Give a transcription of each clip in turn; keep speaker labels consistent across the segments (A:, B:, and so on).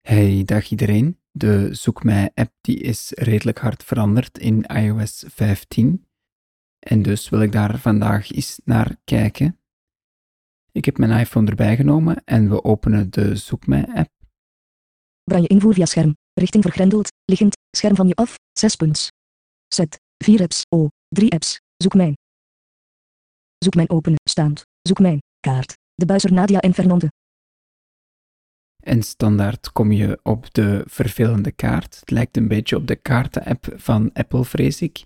A: Hey, dag iedereen. De Zoek mij app die is redelijk hard veranderd in iOS 15. En dus wil ik daar vandaag eens naar kijken. Ik heb mijn iPhone erbij genomen en we openen de Zoek mij app.
B: Braille invoer via scherm. Richting vergrendeld, liggend, scherm van je af, 6 punts. Set, 4 apps, O, 3 apps, zoek mijn. Zoek mijn openen, staand, zoek mijn, kaart. De buizer Nadia en Fernande.
A: En standaard kom je op de vervelende kaart. Het lijkt een beetje op de kaarten-app van Apple, vrees ik.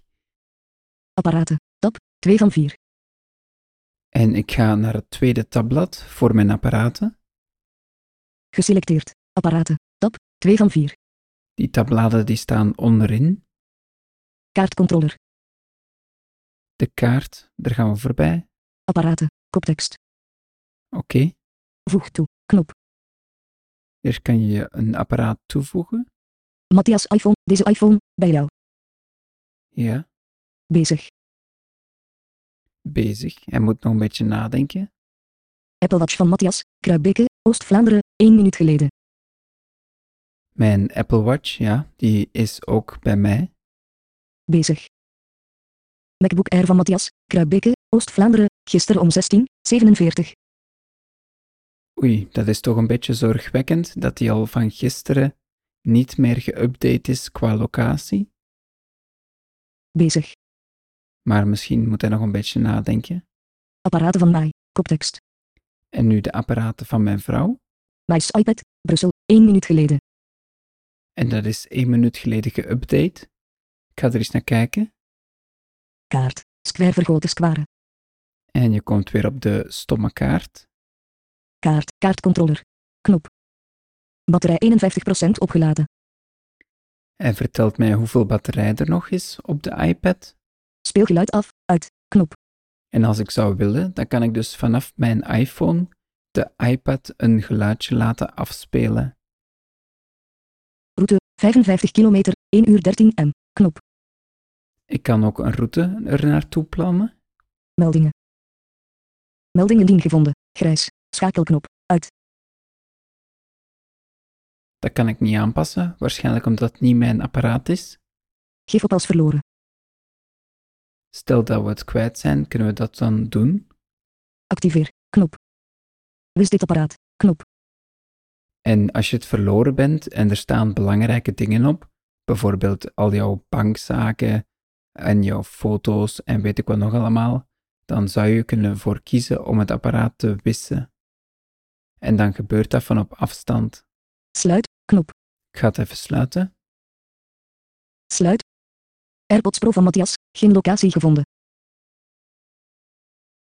B: Apparaten, tab, 2 van 4.
A: En ik ga naar het tweede tabblad voor mijn apparaten.
B: Geselecteerd, apparaten, tab, 2 van 4.
A: Die tabbladen die staan onderin.
B: Kaartcontroller,
A: De kaart, daar gaan we voorbij.
B: apparaten, koptekst.
A: Oké.
B: Voeg toe, knop.
A: Hier kan je een apparaat toevoegen.
B: Matthias iPhone, deze iPhone, bij jou.
A: Ja,
B: Bezig.
A: bezig. Hij moet nog een beetje nadenken.
B: Apple Watch van Matthias, Kruibeke, Oost-Vlaanderen, 1 minuut geleden.
A: Mijn Apple Watch, ja, die is ook bij mij.
B: Bezig. MacBook Air van Matthias, Kruibeke, Oost-Vlaanderen, gisteren om 16.47.
A: Oei, dat is toch een beetje zorgwekkend dat die al van gisteren niet meer geüpdate is qua locatie.
B: Bezig.
A: Maar misschien moet hij nog een beetje nadenken.
B: Apparaten van Mai, koptekst.
A: En nu de apparaten van mijn vrouw.
B: Mai's iPad, Brussel, 1 minuut geleden.
A: En dat is één minuut geleden geüpdate. Ik ga er eens naar kijken.
B: Kaart, square vergroten square.
A: En je komt weer op de stomme kaart.
B: Kaart, kaartcontroller. Knop. Batterij 51% opgeladen.
A: Hij vertelt mij hoeveel batterij er nog is op de iPad.
B: Speelgeluid af, uit, knop.
A: En als ik zou willen, dan kan ik dus vanaf mijn iPhone de iPad een geluidje laten afspelen.
B: Route, 55 kilometer, 1 uur 13 m, knop.
A: Ik kan ook een route er naartoe plannen.
B: Meldingen. Meldingen dien gevonden, grijs, schakelknop.
A: Dat kan ik niet aanpassen, waarschijnlijk omdat het niet mijn apparaat is.
B: Geef op als verloren.
A: Stel dat we het kwijt zijn, kunnen we dat dan doen.
B: Activeer, knop. Wist dit apparaat, knop.
A: En als je het verloren bent en er staan belangrijke dingen op, bijvoorbeeld al jouw bankzaken en jouw foto's en weet ik wat nog allemaal, dan zou je kunnen voor kiezen om het apparaat te wissen. En dan gebeurt dat van op afstand.
B: Sluit, knop.
A: Ik ga het even sluiten.
B: Sluit. AirPods Pro van Matthias, geen locatie gevonden.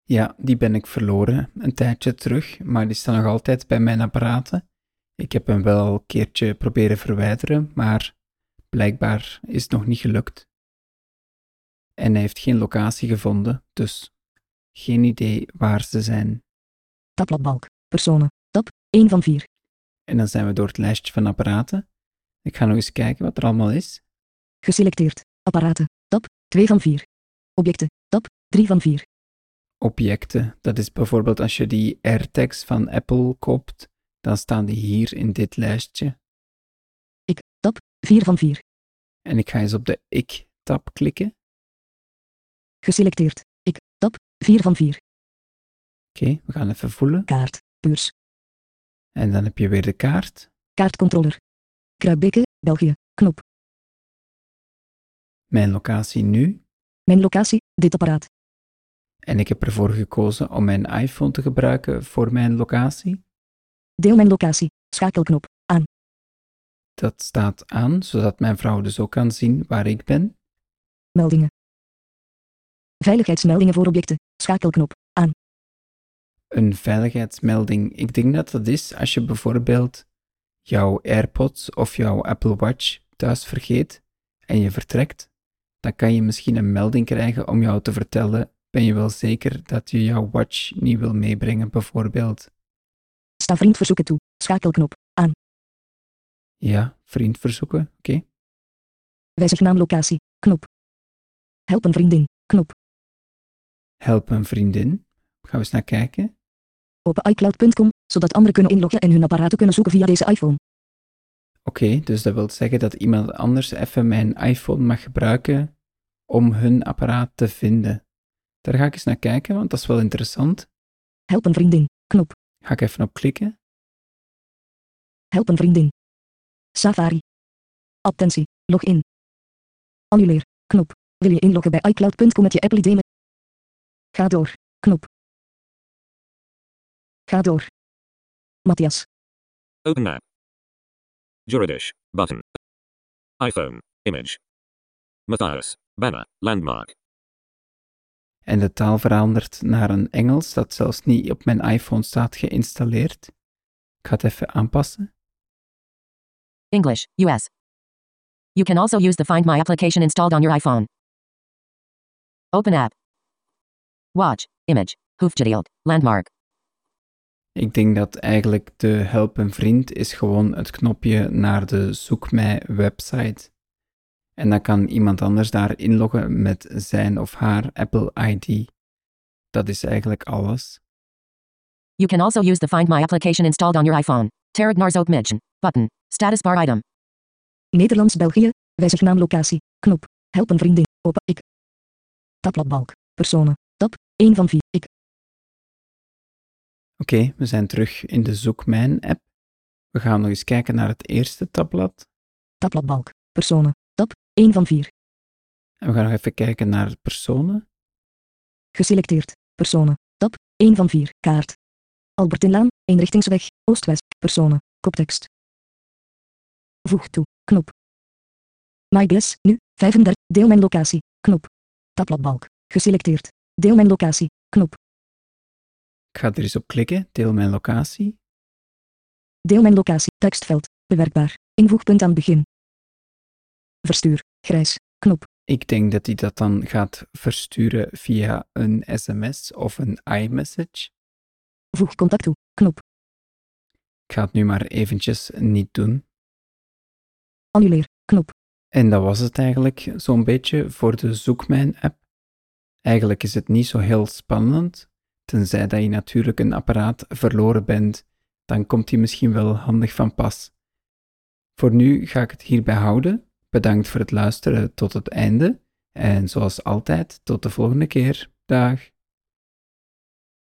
A: Ja, die ben ik verloren een tijdje terug, maar die staan nog altijd bij mijn apparaten. Ik heb hem wel een keertje proberen verwijderen, maar blijkbaar is het nog niet gelukt. En hij heeft geen locatie gevonden, dus geen idee waar ze zijn.
B: Tabbladbalk. Personen. Tab, 1 van 4.
A: En dan zijn we door het lijstje van apparaten. Ik ga nog eens kijken wat er allemaal is.
B: Geselecteerd. Apparaten. Tab, 2 van 4. Objecten. Tab, 3 van 4.
A: Objecten, dat is bijvoorbeeld als je die AirTags van Apple koopt, dan staan die hier in dit lijstje.
B: Ik. Tab, 4 van 4.
A: En ik ga eens op de ik-tab klikken. Oké,
B: Geselecteerd. Ik. Tab, 4 van 4.
A: we gaan even voelen.
B: Kaart. Beurs.
A: En dan heb je weer de kaart.
B: Kaartcontroller. Kruibeke, België. Knop.
A: Mijn locatie nu.
B: Mijn locatie. Dit apparaat.
A: En ik heb ervoor gekozen om mijn iPhone te gebruiken voor mijn locatie.
B: Deel mijn locatie. Schakelknop.
A: Dat staat aan, zodat mijn vrouw dus ook kan zien waar ik ben.
B: Meldingen. Veiligheidsmeldingen voor objecten. Schakelknop.
A: Een veiligheidsmelding. Ik denk dat dat is als je bijvoorbeeld jouw AirPods of jouw Apple Watch thuis vergeet en je vertrekt. Dan kan je misschien een melding krijgen om jou te vertellen: ben je wel zeker dat je jouw watch niet wil meebrengen, bijvoorbeeld?
B: Sta vriendverzoeken toe. Schakelknop.
A: Ja, vriend verzoeken, oké.
B: Wijzig naam locatie. Knop. Help een vriendin. Knop.
A: Help een vriendin. Gaan we eens naar kijken.
B: Op iCloud.com, zodat anderen kunnen inloggen en hun apparaten kunnen zoeken via deze iPhone.
A: Oké, dus dat wil zeggen dat iemand anders even mijn iPhone mag gebruiken om hun apparaat te vinden. Daar ga ik eens naar kijken, want dat is wel interessant.
B: Help een vriendin. Knop.
A: Ga ik even op klikken.
B: Help een vriendin. Safari. Attentie. Log in. Annuleer. Knop. Wil je inloggen bij iCloud.com met je Apple ID? met- Ga door. Knop. Ga door. Matthias.
C: Open map. Juridish. Button. iPhone. Image. Matthias. Banner. Landmark.
A: En de taal verandert naar een Engels dat zelfs niet op mijn iPhone staat geïnstalleerd. Ik ga het even aanpassen.
D: English, US. You can also use the Find My application installed on your iPhone. Open app. Watch, image, Hoofdgedeeld, landmark.
A: Ik denk dat eigenlijk de help een vriend is gewoon het knopje naar de zoek mij website. En dan kan iemand anders daar inloggen met zijn of haar Apple ID. Dat is eigenlijk alles.
D: You can also use the Find My application installed on your iPhone. Terragnor's Oak Midgen. Button. Status bar item.
B: Nederlands België. Wijzig naam locatie. Knop. Help een vriendin. Open ik. Tabbladbalk. Personen. Tab. 1 van 4. Ik.
A: Oké, we zijn terug in de Zoek Mijn app. We gaan nog eens kijken naar het eerste tabblad.
B: Tabbladbalk. Personen. Tab. 1 van 4.
A: En we gaan nog even kijken naar personen.
B: Geselecteerd. Personen. Tab. 1 van 4. Kaart. Albertinlaan. Eenrichtingsweg. Oostwest. Personen. Koptekst. Voeg toe. Knop. My guess. Nu. 35. Deel mijn locatie. Knop. Tabbladbalk. Geselecteerd. Deel mijn locatie. Knop.
A: Ik ga er eens op klikken, deel mijn locatie.
B: Deel mijn locatie. Tekstveld. Bewerkbaar. Invoegpunt aan het begin. Verstuur. Grijs. Knop.
A: Ik denk dat hij dat dan gaat versturen via een sms of een iMessage.
B: Voeg contact toe. Knop.
A: Ik ga het nu maar eventjes niet doen.
B: Annuleer. Knop.
A: En dat was het eigenlijk zo'n beetje voor de Zoek Mijn app. Eigenlijk is het niet zo heel spannend, tenzij dat je natuurlijk een apparaat verloren bent, dan komt die misschien wel handig van pas. Voor nu ga ik het hierbij houden. Bedankt voor het luisteren tot het einde en zoals altijd tot de volgende keer. Dag.